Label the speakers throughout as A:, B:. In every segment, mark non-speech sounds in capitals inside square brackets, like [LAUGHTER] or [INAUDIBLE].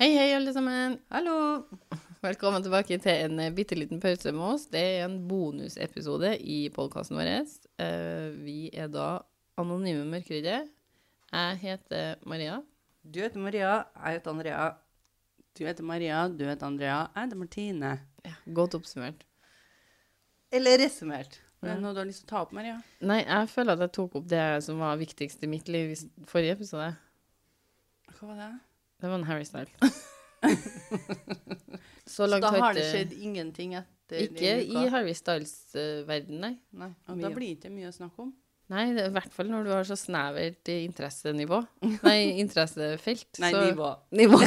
A: Hei, hei, alle sammen. Hallo. Velkommen tilbake til en eh, bitte liten pause med oss. Det er en bonusepisode i podkasten vår. Eh, Vi er da Anonyme mørkeredde. Jeg heter Maria.
B: Du heter Maria, jeg heter Andrea. Du heter Maria, du heter Andrea, jeg heter Martine.
A: Godt oppsummert.
B: Eller resumert.
A: Ja.
B: Er det noe du har lyst til å ta opp, Maria?
A: Nei, jeg føler at jeg tok opp det som var viktigst i mitt liv i s- forrige episode.
B: Hva var det?
A: Det var en Harry
B: [LAUGHS]
A: Style. Så langt
B: da har det
A: ikke-
B: skjedd ingenting etter
A: Ikke
B: den uka?
A: i Harry Styles-verden, nei.
B: Nei, og da blir det ikke mye å snakke om.
A: Nei, det, er i hvert fall når du har så snevert eh, interessenivå.
B: [LAUGHS]
A: Nei, interessefelt.
B: Nei,
A: så,
B: nivå.
A: [LAUGHS] Nivå.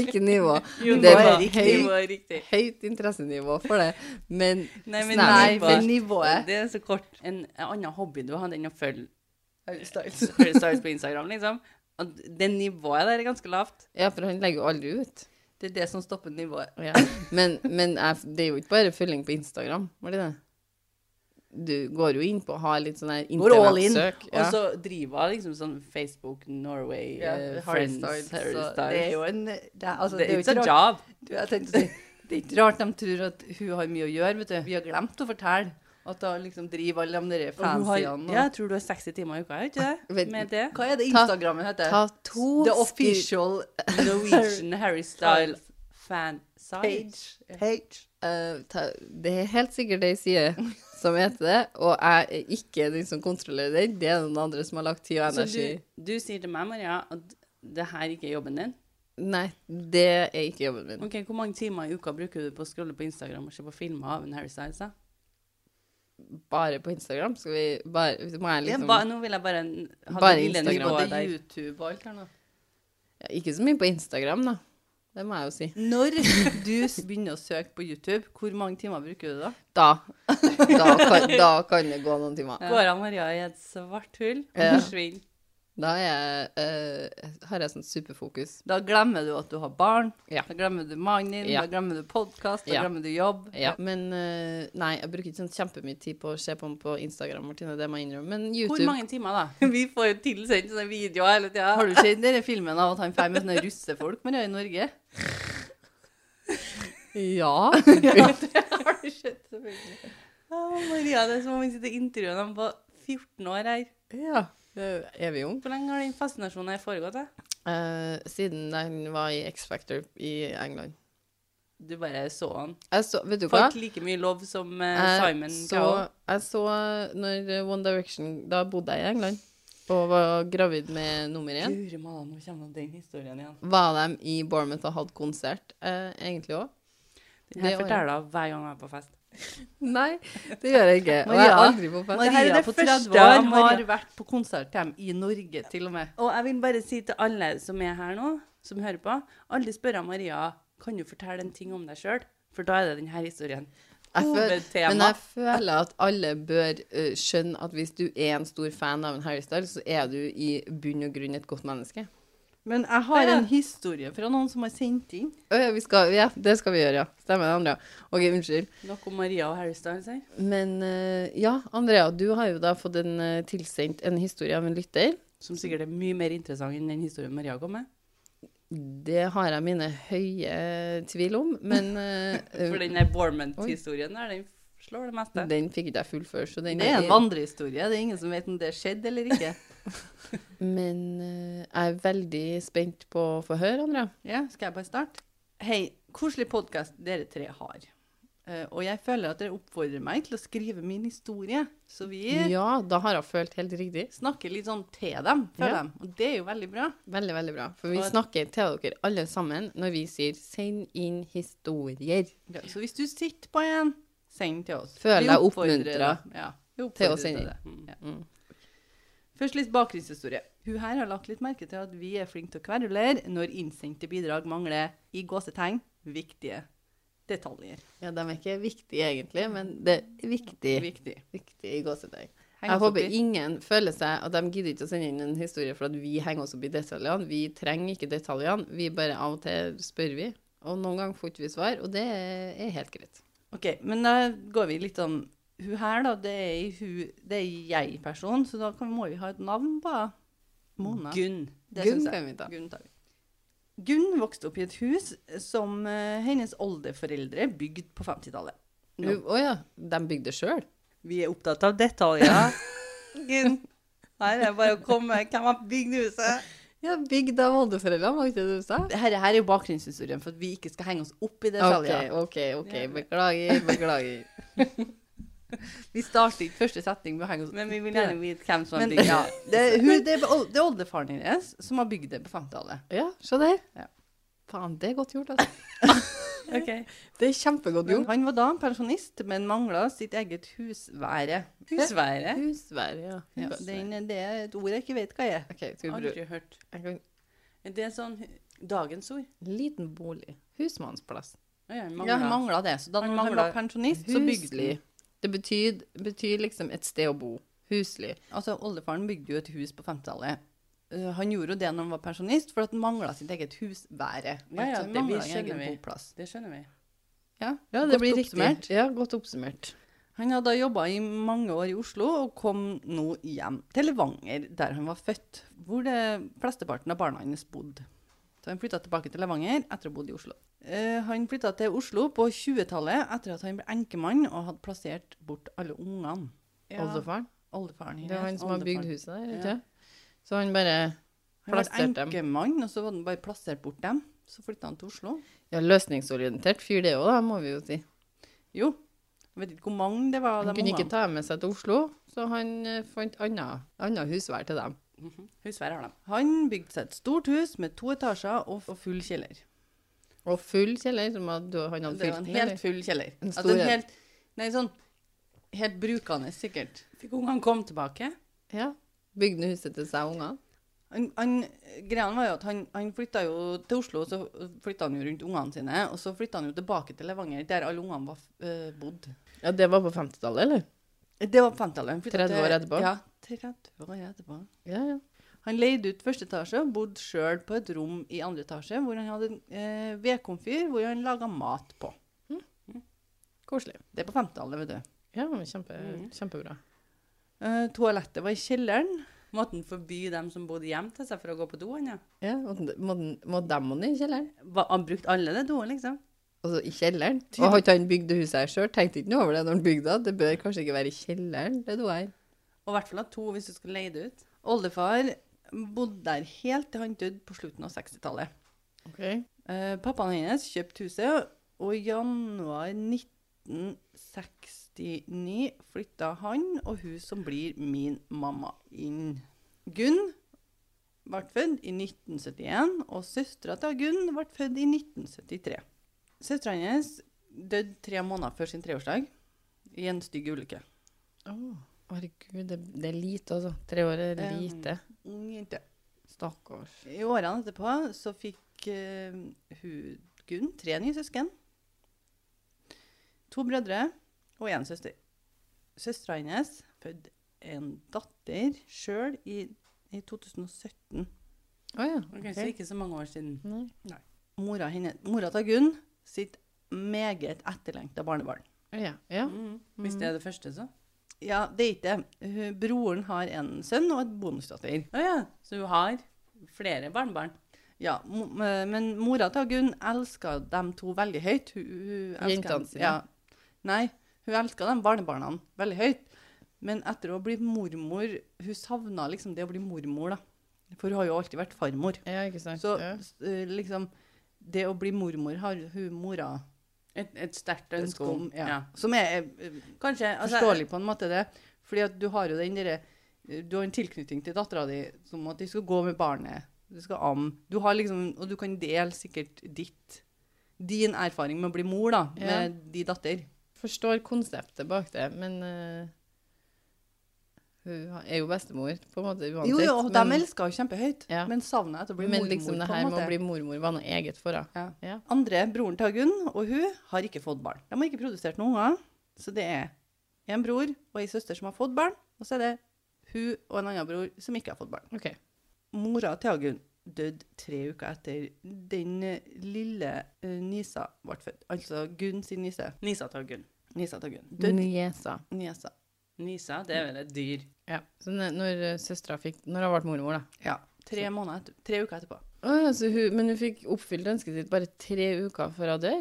A: ikke nivå.
B: det
A: det
B: var
A: var
B: riktig.
A: høy-
B: Nivå er riktig.
A: Høyt interessenivå for det, men
B: Nei, men
A: snevert
B: nivå-
A: for nivået.
B: Det er så kort. En, en annen hobby du hadde enn å følge
A: Harry
B: Harry Styles på Instagram, liksom. At Det nivået der er ganske lavt.
A: Ja, for han legger jo aldri ut.
B: Det er det som stopper nivået.
A: Ja. Men, men jeg, det er jo ikke bare følging på Instagram, var det det? Du går jo inn på å ha litt sånn her
B: Går all in.
A: internettsøk.
B: Og så driver hun liksom sånn Facebook, Norway, eh,
C: Harry
B: Friends,
C: Styles,
B: Harry
C: så
B: Styles.
C: Det er jo en det er, altså,
B: Det-
C: det er jo
B: It's a
C: ikke rart,
B: job.
C: du, jeg tenkte å si, det er ikke rart de tror at hun har mye å gjøre, vet du. Vi har glemt å fortelle at hun liksom driver alle de der
B: Og hun har,
C: fansidene. og-
B: ja, jeg tror du har 60 timer i uka, er ikke [LAUGHS] det?
A: Vent.
B: Med det.
C: Hva er det
A: Ta-
C: Instagrammen heter?
A: Ta to
C: The
A: skritt-
C: official
B: Norwegian Harry Styles fan site.
C: page. page.
A: Eh, ta, det er helt sikkert ei side som heter det, og jeg er ikke den som kontrollerer den. Det er noen andre som har lagt tid og
B: Så
A: energi.
B: du, du sier til meg, Maria, at det her ikke er jobben din.
A: Nei, det er ikke jobben min.
B: Ok, Hvor mange timer i uka bruker du på å scrolle på Instagram og se på filmer av en Harry Styles? da?
A: Bare på Instagram skal vi bare Må jeg
B: Det er
A: liksom
B: ba, nå vil jeg sånn. bare n- ha
A: Bare
B: det lille
A: Instagram.
B: nivået
C: Både
B: der.
C: YouTube og alt her nå.
A: ja, Ikke så mye på Instagram, da. Det må jeg jo si.
B: [LAUGHS]
C: Når du s- begynner å søke på YouTube, hvor mange timer bruker du da?
A: Da. Da
B: [LAUGHS]
A: kan, da kan det gå noen timer.
B: Går av Maria i et svart hull og
A: Ja.
B: forsvinner.
A: Da er jeg, eh, har jeg sånn superfokus.
C: Da glemmer du at du har barn,
A: Ja.
C: da glemmer du mannen din,
A: Ja.
C: da glemmer du podkast, da
A: Ja.
C: glemmer du jobb.
A: Ja, men eh, nei, jeg bruker ikke sånn kjempemye tid på å se på den på Instagram, Martine. Det må jeg innrømme. Men
B: Hvor
A: YouTube
B: mange timer, da? [LAUGHS] Vi får jo tilsendt sånne videoer hele tida.
C: Har du sett denne filmen av at han drar med sånne russefolk man gjør i Norge?
A: Ja. [LAUGHS]
B: [LAUGHS]
C: Har du sett selvfølgelig.
B: Maria, det er som om vi sitter og intervjuer dem på 14 år her.
A: ja. Er vi unge?
B: Hvor lenge har den fascinasjonen her foregått? da?
A: Eh, siden han var i X-Factor i England.
B: Du bare så han.
A: Jeg så, vet du hva?
B: Folk like mye lov som eh,
A: Jeg
B: Simon
A: så,
B: Cowell.
A: jeg så eh, når One Direction Da bodde jeg i England og var gravid med nummer én.
B: Guri malla, nå kommer den historien igjen.
A: Var de i Bournemouth og hadde konsert, eh, egentlig òg?
B: Den her
A: Det var-
B: forteller jeg hver gang jeg er på fest.
A: Nei, det gjør jeg ikke. Og jeg er
C: Maria,
A: aldri på fest.
B: Maria- her er
C: Maria
B: det
C: på
B: første
C: 30 år har
B: Maria-
C: vært på konsert til dem i Norge, til og med.
B: Og jeg vil bare si til alle som er her nå, som hører på, alle spør av Maria kan du fortelle en ting om deg sjøl, for da er det denne historien.
A: Jeg føler,
B: Hovedtema.
A: men jeg føler at alle bør eh, skjønne at hvis du er en stor fan av en Harry Styles, så er du i bunn og grunn et godt menneske.
C: Men jeg har
B: Ja.
C: en historie fra noen som har sendt inn.
A: Å ja, vi skal, ja, det skal vi gjøre, ja. Stemmer det, Andrea? OK, unnskyld.
B: Noe om Maria og Harry Styles her.
A: Men eh, ja, Andrea, du har jo da fått en, eh, tilsendt en historie av en lytter.
B: Som sikkert er mye mer interessant enn den historien Maria kom med.
A: Det har jeg mine høye tvil om, men eh, Mm.
B: For den der Bormant-historien der, den slår det meste.
A: den fikk ikke jeg fullført. så den
C: Det er en
A: er-
C: vandrehistorie. Det er ingen som vet om det skjedde eller ikke.
A: Men eh, jeg er veldig spent på å få høre, Andrea.
C: Ja, skal jeg bare starte? Hei, koselig podkast dere tre har. Eh, og jeg føler at dere oppfordrer meg til å skrive min historie. Så vi
A: Ja, da har jeg følt helt riktig.
C: snakker litt sånn til dem, føler
A: Ja.
C: dem. Og det er jo veldig bra.
A: Veldig, veldig bra. For vi
C: Og-
A: snakker til dere alle sammen når vi sier 'send inn historier'
C: Ja, så hvis du sitter på en, send til oss.
A: Føler
C: Vi
A: deg
C: oppfordrer
A: oppmuntret
C: deg. Ja,
A: til
C: vi
A: å
C: oppfordrer
A: sende
C: deg.
A: inn.
B: Mm.
C: Først litt bakgrunnshistorie. Hun her har lagt litt merke til at vi er flinke til å kverulere når innsendte bidrag mangler i gåsetegn viktige detaljer.
A: Ja, de er ikke viktige egentlig, men det er viktig.
C: Viktig.
A: Viktig i gåsetegn. Jeg
C: Heng oss opp
A: håper
C: i.
A: ingen føler seg at de gidder ikke å sende inn en historie for at vi henger oss opp i detaljene. Vi trenger ikke detaljene, vi bare av og til spør vi. Og noen ganger får ikke vi svar, og det er helt greit.
C: Ok, men da går vi litt sånn Hun her, da, det er, i hun, det er jeg-person, så da kan, må vi ha et navn på henne. Mona.
B: Gunn.
C: Det
A: Gunn
C: syns jeg.
A: kan vi ta.
C: Gunn tar vi. Gunn vokste opp i et hus som eh, hennes oldeforeldre bygde på 50-tallet.
A: Å ja. De bygde sjøl?
B: Vi er opptatt av detaljer.
C: [LAUGHS]
B: Gunn. Her er det bare å komme. Hvem har bygd huset?
A: Ja, bygd av oldeforeldrene, var ikke det du sa?
C: Dette her er jo bakgrunnshistorien for at vi ikke skal henge oss opp i
A: OK,
C: detaljer.
A: OK. ok, Beklager, beklager.
C: Vi starter ikke første setning med å henge oss
B: Men vi vil
C: opp i
B: gjerne vite hvem som har
C: Men,
B: bygd
C: ja,
B: det.
C: [LAUGHS] det, er hun, det, er ol- det er oldefaren hennes som har bygd det på 50-tallet.
A: [LAUGHS] Ja, se der.
C: Ja.
A: Faen, det er godt [LAUGHS] gjort, altså.
B: Ok.
A: Det er kjempegodt
C: Men
A: gjort.
C: Han var da pensjonist, men mangla sitt eget husvære.
B: Husværet.
A: Husvær, ja.
C: Ja, den, det er et ord jeg ikke vet hva jeg er.
A: OK, skal vi bruke
B: Aldri hørt.
A: jeg kan-
B: Er det sånn dagens ord?
A: Liten bolig. Husmannsplass.
B: Å ja,
C: Ja, han
B: mangler.
C: mangla det. Så da
B: Han
C: han mangla
B: manglet
C: pensjonist, så bygde han.
A: Huslig. Det betyr, betyr liksom et sted å bo. Huslig.
C: Altså, oldefaren bygde jo et hus på 50-tallet. Eh, han gjorde jo det når han var pensjonist, for at han mangla sitt eget husvære.
B: Ja, ja,
C: Så
B: det
C: det manglet
B: vi
C: en egen
B: skjønner vi.
C: boplass.
B: Det skjønner vi.
C: Ja,
A: Ja, det
C: godt
A: blir
C: oppsummert.
A: riktig. Ja, godt oppsummert.
C: Han hadde jobba i mange år i Oslo og kom nå hjem til Levanger, der han var født, hvor det flesteparten av barna hans bodde. Så han flytta tilbake til Levanger etter å ha bodd i Oslo. Eh, han flytta til Oslo på 20-tallet etter at han ble enkemann og hadde plassert bort alle ungene.
A: Oldefaren.
C: Oldefaren
A: Det er han som har bygd
C: oldefaren.
A: huset der,
B: Ja.
A: ikke sant? Så han bare
C: Han ble
A: plassert dem.
C: enkemann, og så var han bare plassert bort dem. Så flytta han til Oslo.
A: Ja, løsningsorientert fyr, det òg, da, må vi jo si.
C: Jo, jeg vet ikke hvor mange det var.
A: Han
C: av de
A: kunne ikke ta
C: ungene.
A: med seg til Oslo, så han eh, fant annet annet husvær til dem.
B: Mhm. Husværet har de.
C: Han bygde seg et stort hus med to etasjer og, og full kjeller.
A: Og full kjeller, som at du- han hadde
C: Det
A: fylt
C: var en
A: den,
C: helt
A: eller?
C: full kjeller.
A: En
C: At
A: stor
C: en
A: en.
C: helt, nei, sånn helt brukende, sikkert.
B: Fikk ungene komme tilbake?
A: Ja. Bygde han huset til seg ungene?
C: Han, han, greia var jo at han, han flytta jo til Oslo, så flytta han jo rundt ungene sine. Og så flytta han jo tilbake til Levanger, der alle ungene var uh, bodd.
A: Ja, det var på 50-tallet, eller?
C: Det var på 50-tallet. Han flyttet
A: 30 år
C: til-
A: etterpå.
C: Ja, 30 år etterpå.
A: Ja, ja.
C: Han leide ut første etasje og bodde sjøl på et rom i andre etasje, hvor han hadde en eh, vedkomfyr hvor han laga mat på.
A: Koselig.
C: Det er på 50-tallet, vet du.
A: Ja, men kjempe,
C: Mm.
A: kjempebra.
C: Eh, toalettet var i kjelleren.
B: Måtte han forby dem som bodde hjem til seg for å gå på do? Han, ja.
A: Ja, og den- Må den- må demoen i kjelleren?
B: Hva- han brukte alle de doene, liksom?
A: Altså i kjelleren? Og hadde han bygd det huset her sjøl? Tenkte ikke noe over det når han bygde det. Det bør kanskje ikke være i kjelleren, det du er.
B: Og i hvert fall ha to hvis du skulle leie det ut.
C: Oldefar bodde der helt til han døde på slutten av 60-tallet.
A: Okay.
C: Eh, pappaen hennes kjøpte huset, og i januar 1969 flytta han og hun som blir min mamma, inn. Gunn ble født i 1971, og søstera til Gunn ble født i 1973. Søstera hennes døde tre måneder før sin treårsdag i en stygg ulykke.
A: herregud, det, det er lite, altså. Tre år er
C: Ja.
A: lite.
C: Ung jente.
A: Stakkars.
C: I årene etterpå så fikk eh, hun Gunn tre nye søsken. To brødre og én søster. Søstera hennes fødte en datter sjøl i, i 2017.
A: Å ja.
B: Ok,
A: ok.
B: Så ikke så mange år siden.
A: Nei.
C: Mora, henne, mora til Gunn sitt meget etterlengta barnebarn.
A: Ja, ja. mm.
B: Mhm. Hvis det er det første, så.
C: Ja, det er ikke det. Hun- Broren har en sønn og et bonusdatter.
B: Å ja, så hun har flere barnebarn.
C: Ja, mo- eh, men mora til Gunn elska dem to veldig høyt. Hun, hun elsket-
A: Jentene sine.
C: Ja. Nei, hun elska de barnebarna veldig høyt. Men etter å ha blitt mormor Hun savna liksom det å bli mormor, da. For hun har jo alltid vært farmor.
A: ja, ikke sant.
C: Så
A: ja.
C: s- eh, liksom Det å bli mormor har hun mora
B: Et, et sterkt
C: ønske
B: ønske om.
C: Ja. Som er eh,
B: Kanskje altså,
C: forståelig på en måte, det. Fordi at du har jo den derre eh, Du har en tilknytning til dattera di som at de skal gå med barnet, du skal amme. Du har liksom Og du kan dele sikkert ditt Din erfaring med å bli mor, da,
A: Ja.
C: med de datter.
A: Forstår konseptet bak det, men eh, hun er jo bestemor, på en måte, uansett.
C: Jo, jo, og de
A: men,
C: elsker jo kjempehøyt,
A: Ja.
C: men savner etter å bli
A: men
C: mormor,
A: liksom det
C: på
A: her
C: en
A: med
C: måte.
A: å bli mormor var noe eget for henne.
C: ja.
A: Ja.
C: Andre, broren til Gunn og hun, har ikke fått barn. De har ikke produsert noen unger, så det er en bror og ei søster som har fått barn, og så er det hun og en annen bror som ikke har fått barn.
A: OK.
C: Mora til Hagen døde tre uker etter den eh, lille eh, nisa ble født. Altså Gunn sin nise.
B: Nisa tar gull.
C: Nisa til Gunn. Død
A: Niesa.
C: nisa.
B: Nisa, det er vel et dyr.
A: Ja. Så når, når søstera eh, fikk Når hun ble mormor, da.
C: Ja. Tre, måneder etter, tre uker etterpå.
A: Å Å ja, så hun, men hun fikk oppfylt ønsket sitt bare tre uker før hun dør?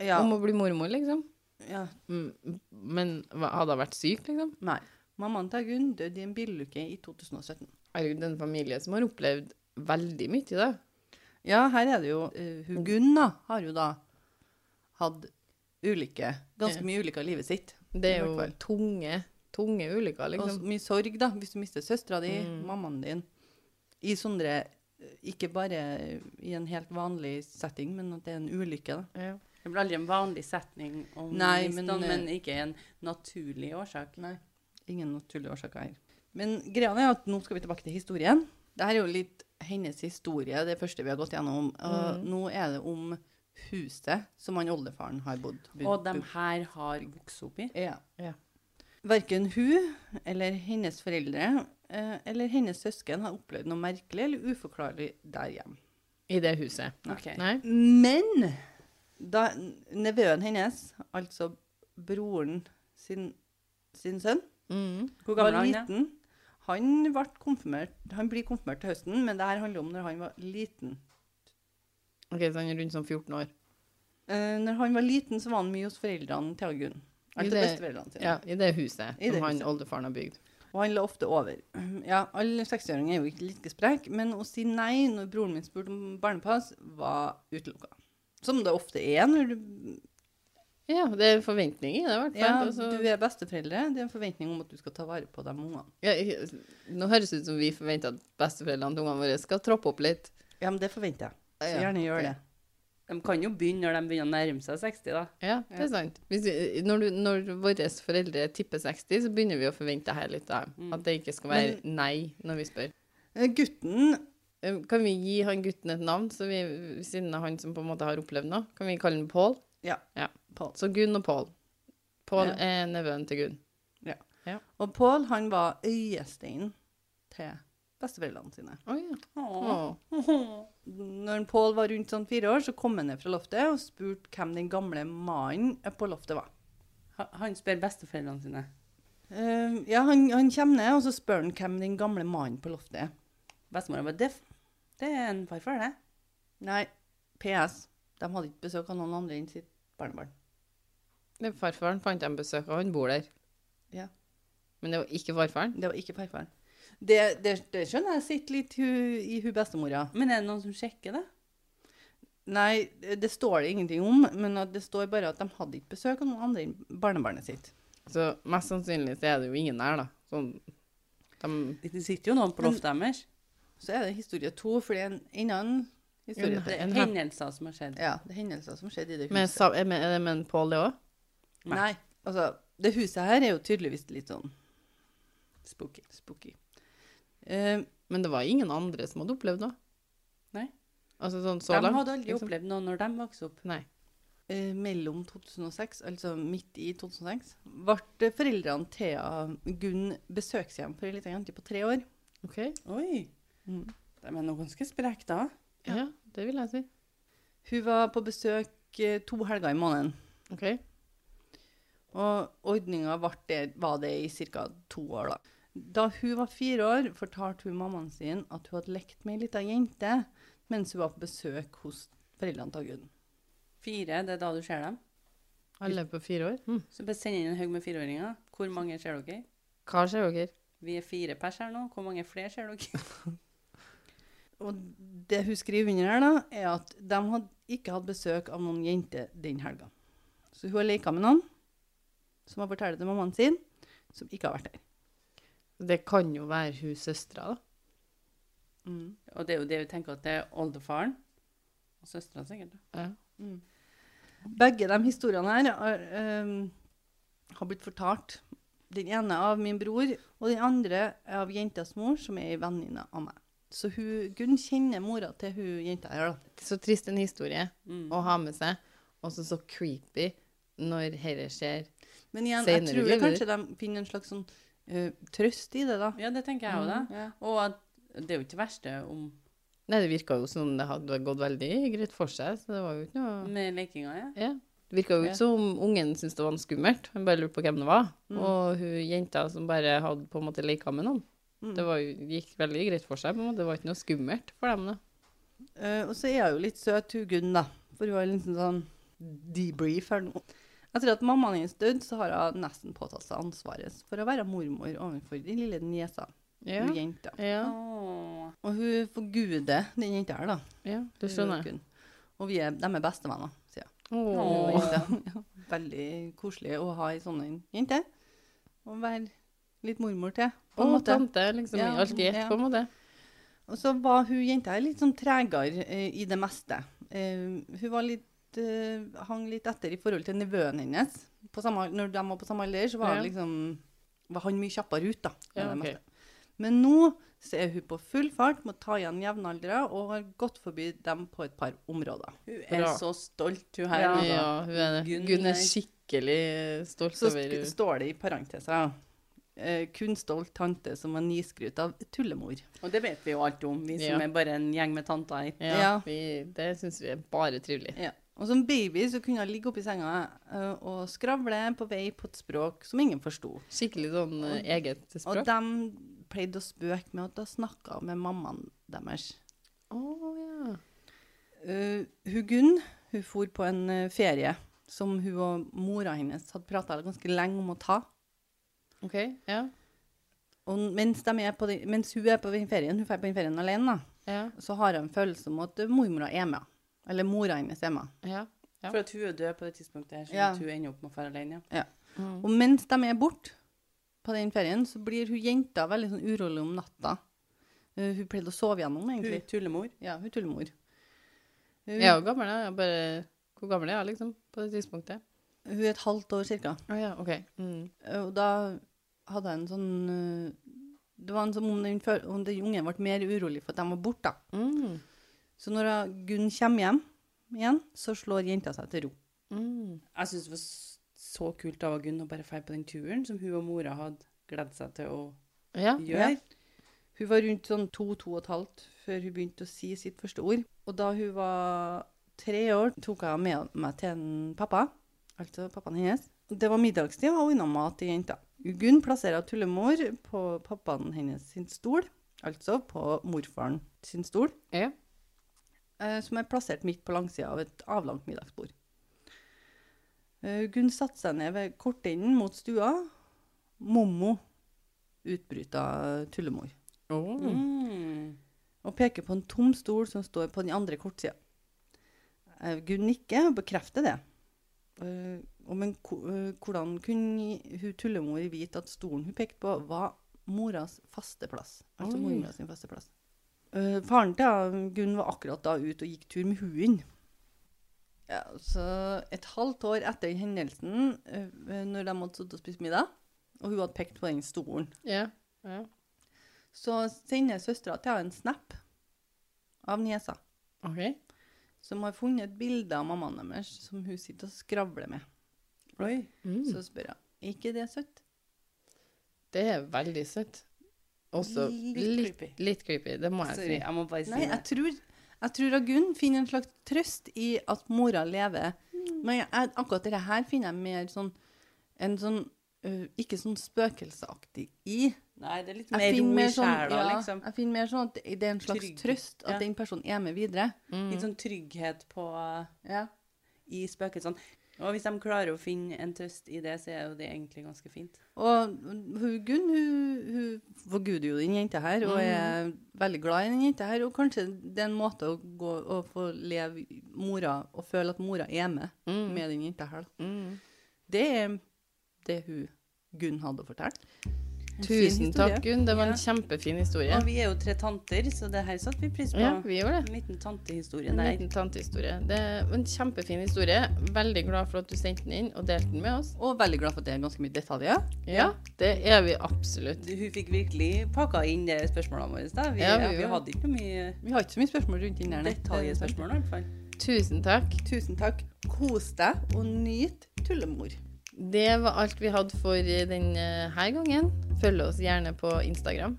C: Ja.
A: Om å bli mormor, liksom?
C: ja.
A: Mm, Men hva- hadde hun vært syk, liksom?
C: Nei. Mammaen til Gunn døde i en bilulykke i 2017.
A: Herregud, en familie som har opplevd veldig mye, da.
C: Ja, her er det jo eh, hun Gunn da, har jo da hatt ulike, ganske
A: Ja.
C: mye ulykker i livet sitt.
A: Det
C: I
A: er
C: hvert
A: jo
C: fall.
A: tunge, tunge ulykker,
C: Og
A: liksom.
C: så mye sorg, da, hvis du mister søstera di,
A: Mm.
C: mammaen din. I sånne eh, Ikke bare i en helt vanlig setting, men at det er en ulykke, da.
A: Ja.
B: Det blir aldri en vanlig setning om
C: Nei,
B: misstand,
C: men, eh,
B: men, ikke en naturlig årsak.
C: Nei. Ingen naturlige årsaker her. Men greia er at nå skal vi tilbake til historien. Dette er jo litt hennes historie, det første vi har gått gjennom.
A: Mm.
C: Og nå er det om huset som han oldefaren har bodd.
B: Og de her har vokst opp i.
C: Ja.
A: Ja.
C: Verken hun eller hennes foreldre eh, eller hennes søsken har opplevd noe merkelig eller uforklarlig der hjemme.
A: I det huset.
B: Ok.
A: Nei?
C: Men da nevøen hennes, altså broren sin, sin sønn,
A: Mm.
B: Hvor
C: var
B: gammel er han? da?
C: liten. Han, ble konfirmert, han blir konfirmert til høsten, men det her handler om når han var liten.
A: Ok, så han er rundt sånn 14 år.
C: Eh, når han var liten, så var han mye hos foreldrene til Gunn. Altså
A: det-
C: besteforeldrene sine.
A: Ja, I det huset
C: I det
A: som han
C: huset.
A: oldefaren har bygd.
C: Og han la ofte over. Ja, alle 60-åringer er jo ikke like sprek, men å si nei når broren min spurte om barnepass, var utelukka. Som det ofte er når du,
A: Ja, det er forventninger i det, i hvert
C: ja, altså-
A: fall. Altså, og så-
C: du er besteforeldre. Det er en forventning om at du skal ta vare på de ungene.
A: Ja, jeg- nå høres det ut som vi forventer at besteforeldrene til ungene våre skal troppe opp litt.
C: Ja, men det forventer jeg.
A: Ja,
C: Så gjerne gjør det.
B: De kan jo begynne når de begynner å nærme seg 60, da.
A: Ja, det
C: Ja.
A: er sant. Hvis vi, når, du, når våre foreldre tipper 60, så begynner vi å forvente her litt av dem.
B: Mm.
A: At det ikke skal være nei når vi spør.
C: Eh, Gutten
A: Eh, Kan vi gi han gutten et navn, så vi, siden det er han som på en måte har opplevd noe? Kan vi kalle han Pål?
C: Ja.
A: ja.
C: Pål.
A: Så Gunn og Pål. Pål
C: Ja.
A: er nevøen til Gunn.
C: og Pål, han var øyesteinen til besteforeldrene sine.
A: Å ja.
B: Åh.
A: Å.
C: Når Pål var rundt sånn fire år, så kom han ned fra loftet og spurte hvem den gamle mannen på loftet var.
B: Ha- Han spør besteforeldrene sine.
C: Eh, ja, han, han kommer ned, og så spør han hvem den gamle mannen på loftet er.
B: Bestemora var døff. Det er en farfar, det.
C: Nei, PS. De hadde ikke besøk av noen andre enn sitt barnebarn.
A: Det er farfaren fant dem besøk av, han bor der.
C: Ja.
A: Men det var ikke farfaren?
C: Det var ikke farfaren. Det, det, det skjønner jeg sitter litt hu, i hun bestemora.
B: Men er det noen som sjekker det?
C: Nei, det står det ingenting om, men at det står bare at de hadde ikke besøk av noen andre enn barnebarnet sitt.
A: Så mest sannsynlig så er det jo ingen her, da. Sånn, de,
B: Det sitter jo noen på
C: Men-
B: loftet deres.
C: Så er det historie to, for det er en annen historie.
A: En-
B: Det
A: en-
B: er hendelser som har skjedd.
C: Ja, det er hendelser som skjedde i det
A: med,
C: huset.
A: sa- er med, er det med en Pål, det òg?
B: Nei.
C: Nei, altså, det huset her er jo tydeligvis litt sånn
B: Spooky.
C: spooky. Eh,
A: Men det var ingen andre som hadde opplevd noe?
B: Nei.
A: Altså sånn så
B: De
A: langt?
B: hadde aldri
A: liksom?
B: opplevd noe når de vokste opp.
A: Nei.
C: eh, mellom 2006, altså midt i 2006, ble foreldrene Thea Gunn besøkshjem for ei lita jente på tre år.
A: OK.
B: Oi.
C: Mm.
B: De er nå ganske spreke, da.
A: Ja. det vil jeg si.
C: Hun var på besøk eh, to helger i måneden,
A: OK.
C: og ordninga var det, var det i ca. to år. Da Da hun var fire år, fortalte hun mammaen sin at hun hadde lekt med ei lita jente mens hun var på besøk hos foreldrene til Gunn.
B: Fire, det er da du ser dem.
A: Alle er på fire år? Hm.
B: Så bare send inn en haug med fireåringer. Hvor mange ser dere?
A: Hva skjer dere?
B: Vi er fire pers her nå. Hvor mange flere ser dere? [LAUGHS]
C: Og det hun skriver under her, da, er at de hadde ikke hatt besøk av noen jenter den helga. Så hun har leka med noen som har fortalt det til mammaen sin, som ikke har vært der.
A: Det kan jo være hun søstera, da.
B: Og det er jo det vi tenker at det er oldefaren og søstera, sikkert. da.
A: Ja.
C: Mm. Begge de historiene her har, ehm, har blitt fortalt. Den ene av min bror, og den andre av jentas mor, som er ei venninne av meg. Så hun, Gunn kjenner mora til hun jenta her, da.
A: Så trist en historie
B: Mm.
A: å ha med seg, og så så creepy når dette skjer.
C: Men igjen, jeg
A: Senere
C: tror
A: lever.
C: kanskje de finner en slags sånn eh, trøst i det, da.
B: Ja, det tenker jeg
A: Mm.
B: òg, da.
C: Ja.
B: Og at det er jo ikke det verste om
A: Nei, det virka jo som det hadde gått veldig greit for seg, så det var jo ikke noe
B: med lekinga, ja.
A: Ja. Det virka jo
C: Ja.
A: ikke som ungen syntes det var noe skummelt. Han bare lurte på hvem det var.
C: Mm.
A: Og hun jenta som bare hadde på en måte leka med noen.
C: Mm.
A: Det var, jo- gikk veldig greit for seg. på en måte. Det var ikke noe skummelt for dem. da.
C: Eh, og så er hun jo litt søt, hun Gunn, da. For hun har en liten sånn debrief her nå. Etter at mammaen hennes døde, så har hun nesten påtatt seg ansvaret for å være mormor overfor den lille niesa,
A: Ja.
C: hun jenta.
A: ja.
B: Åh.
C: Og hun forguder den jenta her, da.
A: ja. Du
C: hun
A: skjønner.
C: Gunn. Og vi er, de er bestevenner, sier hun.
A: Åh.
C: Ja, Veldig koselig å ha ei sånn jente. Og være litt mormor til, på en
A: Å,
C: måte.
A: tante, liksom.
C: Ja,
A: i Alt i ett,
C: ja.
A: på en måte.
C: Og så var hun jenta her litt sånn tregere eh, i det meste. Eh, hun var litt, eh, hang litt etter i forhold til nevøen hennes. På samme, når de var på samme alder, så var, han
A: Ja.
C: liksom, var han mye kjappere ut. da. med
A: Ja,
C: det
A: ok.
C: meste. Men nå så er hun på full fart, må ta igjen jevnaldra og har gått forbi dem på et par områder.
B: Hun er
A: Bra.
B: så stolt, hun her.
C: Ja.
B: altså.
A: Ja, hun er det.
B: Gunn
A: Gunn
B: er-
A: er skikkelig stolt
C: Så
A: over
C: sk står det i parenteser eh, kun stolt tante som var niskrut av tullemor.
B: Og det vet vi jo alt om, vi som
A: Ja.
B: er bare en gjeng med tanter her.
A: Ja,
C: Ja.
A: Vi, det syns vi er bare trivelig.
C: Ja. Og som baby så kunne hun ligge oppi senga eh, og skravle på vei på et språk som ingen forsto.
A: Skikkelig sånn eh, eget språk.
C: Og de pleide å spøke med at hun snakka med mammaen deres.
A: Å, ja.
C: Eh, hun Gunn hun for på en eh, ferie som hun og mora hennes hadde prata ganske lenge om å ta.
A: OK. Ja.
C: Og mens, de er på den- mens hun er på den ferien, hun drar på den ferien alene, da,
A: Ja.
C: så har hun en følelse om at eh, mormora er med. Eller mora hennes er med.
A: ja. Ja.
B: For at hun er død på det tidspunktet her, så
C: Ja.
B: hun ender opp med å dra alene.
A: Mm.
C: Og mens de er borte på den ferien, så blir hun jenta veldig sånn urolig om natta. Eh, hun pleide å sove gjennom,
B: Hun
C: egentlig.
B: er tullemor.
C: Ja, hun tullemor. Hun,
A: Jeg
C: Mm.
A: er jo gammel, da. Jeg er bare Hvor gammel er jeg, liksom, på det tidspunktet?
C: hun er et halvt år cirka.
A: Å ja, OK. Mm.
C: Eh, Og da hadde jeg en sånn eh, Det var en som om den, fø- om den ungen ble mer urolig for at de var borte. da.
A: Mm.
C: Så når eh, Gunn kommer hjem igjen, så slår jenta seg til ro.
A: Mm.
B: Jeg syns det var s- så kult av Gunn å bare dra på den turen som hun og mora hadde gledet seg til å
A: Ja.
B: gjøre.
C: Hun var rundt sånn to, to og et halvt før hun begynte å si sitt første ord. Og da hun var tre år, tok jeg med meg til en pappa, altså pappaen hennes. Det var middagstid, og hun unna mat til jenta. Gunn plasserer tullemor på pappaen hennes sin stol, altså på morfaren sin stol,
A: ja.
C: eh, som er plassert midt på langsida av et avlangt middagsbord. Eh, Gunn satte seg ned ved kortenden mot stua. Mommo utbryta tullemor
A: Å.
B: Mm.
C: og peker på en tom stol som står på den andre kortsida. Eh, Gunn nikker og bekrefter det. Eh, og men ko- eh, hvordan kunne hun tullemor vite at stolen hun pekte på, var moras faste plass? Altså
A: Oi.
C: mormora sin faste plass. Eh, faren til eh, Gunn var akkurat da ute og gikk tur med hunden. Ja, så et halvt år etter den hendelsen, eh, når de hadde sittet og spist middag, og hun hadde pekt på den stolen
A: Ja. ja.
C: så sender søstera til henne en snap av niesa,
A: OK.
C: som har funnet et bilde av mammaen deres som hun sitter og skravler med.
B: Oi.
A: Mm.
C: Så spør hun er ikke det søtt.
A: Det er veldig søtt. Også
B: Litt
A: litt,
B: creepy. Altså,
A: litt creepy. Det må jeg
B: Sorry, jeg må bare si
C: Nei, jeg
B: det.
C: tror, jeg tror at Gunn finner en slags trøst i at mora lever. Men jeg, jeg- akkurat dette her finner jeg mer sånn en sånn øh, ikke sånn spøkelseaktig i.
B: Nei, det er litt
C: Jeg
B: mer ro
C: finner
B: i
C: mer sånn,
B: sjela,
C: ja,
B: liksom.
C: jeg finner mer sånn at det er en slags
B: Trygg.
C: trøst at
B: Ja.
C: den personen er med videre.
A: Mm.
B: Litt sånn trygghet på
C: Ja.
B: i spøkelsene. Og hvis de klarer å finne en trøst i det, så er jo det egentlig ganske fint.
C: Og hun Gunn hun, hun forguder jo den jenta her,
B: Mm.
C: og er veldig glad i den jenta her. Og kanskje det er en måte å, gå, å få leve i- mora og føle at mora er med
A: Mm.
C: med den jenta her.
A: si.
C: da.
A: Mm.
C: Det er det hun Gunn hadde å fortelle. En fin
A: Tusen takk,
C: historie.
A: Gunn. Det var
B: Ja.
A: en kjempefin historie.
B: Og vi er jo tre tanter, så det her satte vi pris på.
A: Ja, vi gjorde det.
B: En liten tantehistorie
A: En
B: der.
A: liten tantehistorie. Det var en kjempefin historie. Veldig glad for at du sendte den inn og delte den med oss.
C: Og veldig glad for at det er ganske mye detaljer.
A: Ja, det er vi absolutt.
B: Du- Hun fikk virkelig pakka inn det spørsmålene våre. Da. Vi,
A: Ja, vi
B: ja, vi
A: gjorde
B: hadde ikke noe mye
C: Vi har ikke så mye spørsmål rundt den der. nei.
B: detaljspørsmål, i hvert fall.
A: Tusen takk.
C: Tusen takk. Kos deg og nyt tullemor.
A: Det var alt vi hadde for eh, denne gangen. Følg oss gjerne på Instagram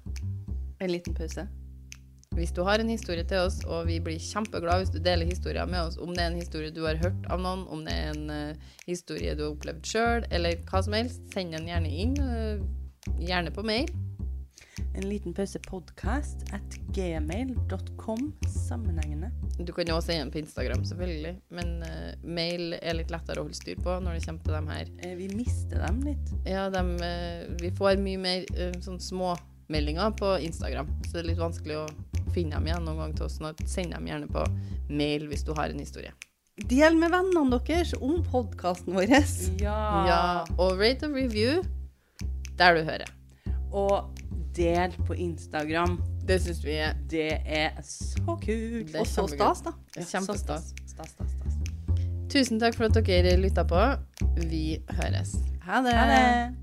C: En liten pause.
A: hvis du har en historie til oss, og vi blir kjempeglad hvis du deler historier med oss, om det er en historie du har hørt av noen, om det er en eh, historie du har opplevd sjøl, eller hva som helst, send den gjerne inn. eh, gjerne på mail.
B: en liten pause podcast at gmail.com sammenhengende.
A: Du kan jo også sende den på Instagram, selvfølgelig. Men eh, mail er litt lettere å holde styr på når det kommer til dem her.
B: Eh, Vi mister dem litt.
A: Ja, dem, eh, vi får mye mer eh, sånn småmeldinger på Instagram, så det er litt vanskelig å finne dem igjen noen gang til oss. Sånn at send dem gjerne på mail hvis du har en historie.
C: Del med vennene deres om podkasten vår.
B: Ja.
A: Ja, og rate og review der du hører.
B: Og del på Instagram.
A: Det syns vi er
B: Det er så kult.
A: Det er
C: Og så
A: kjempegøy.
C: stas, da.
B: Ja, så
A: kjempestas.
B: Stas, stas, stas.
A: Tusen takk for at dere lytta på. Vi høres.
C: Ha det.
B: Ha det.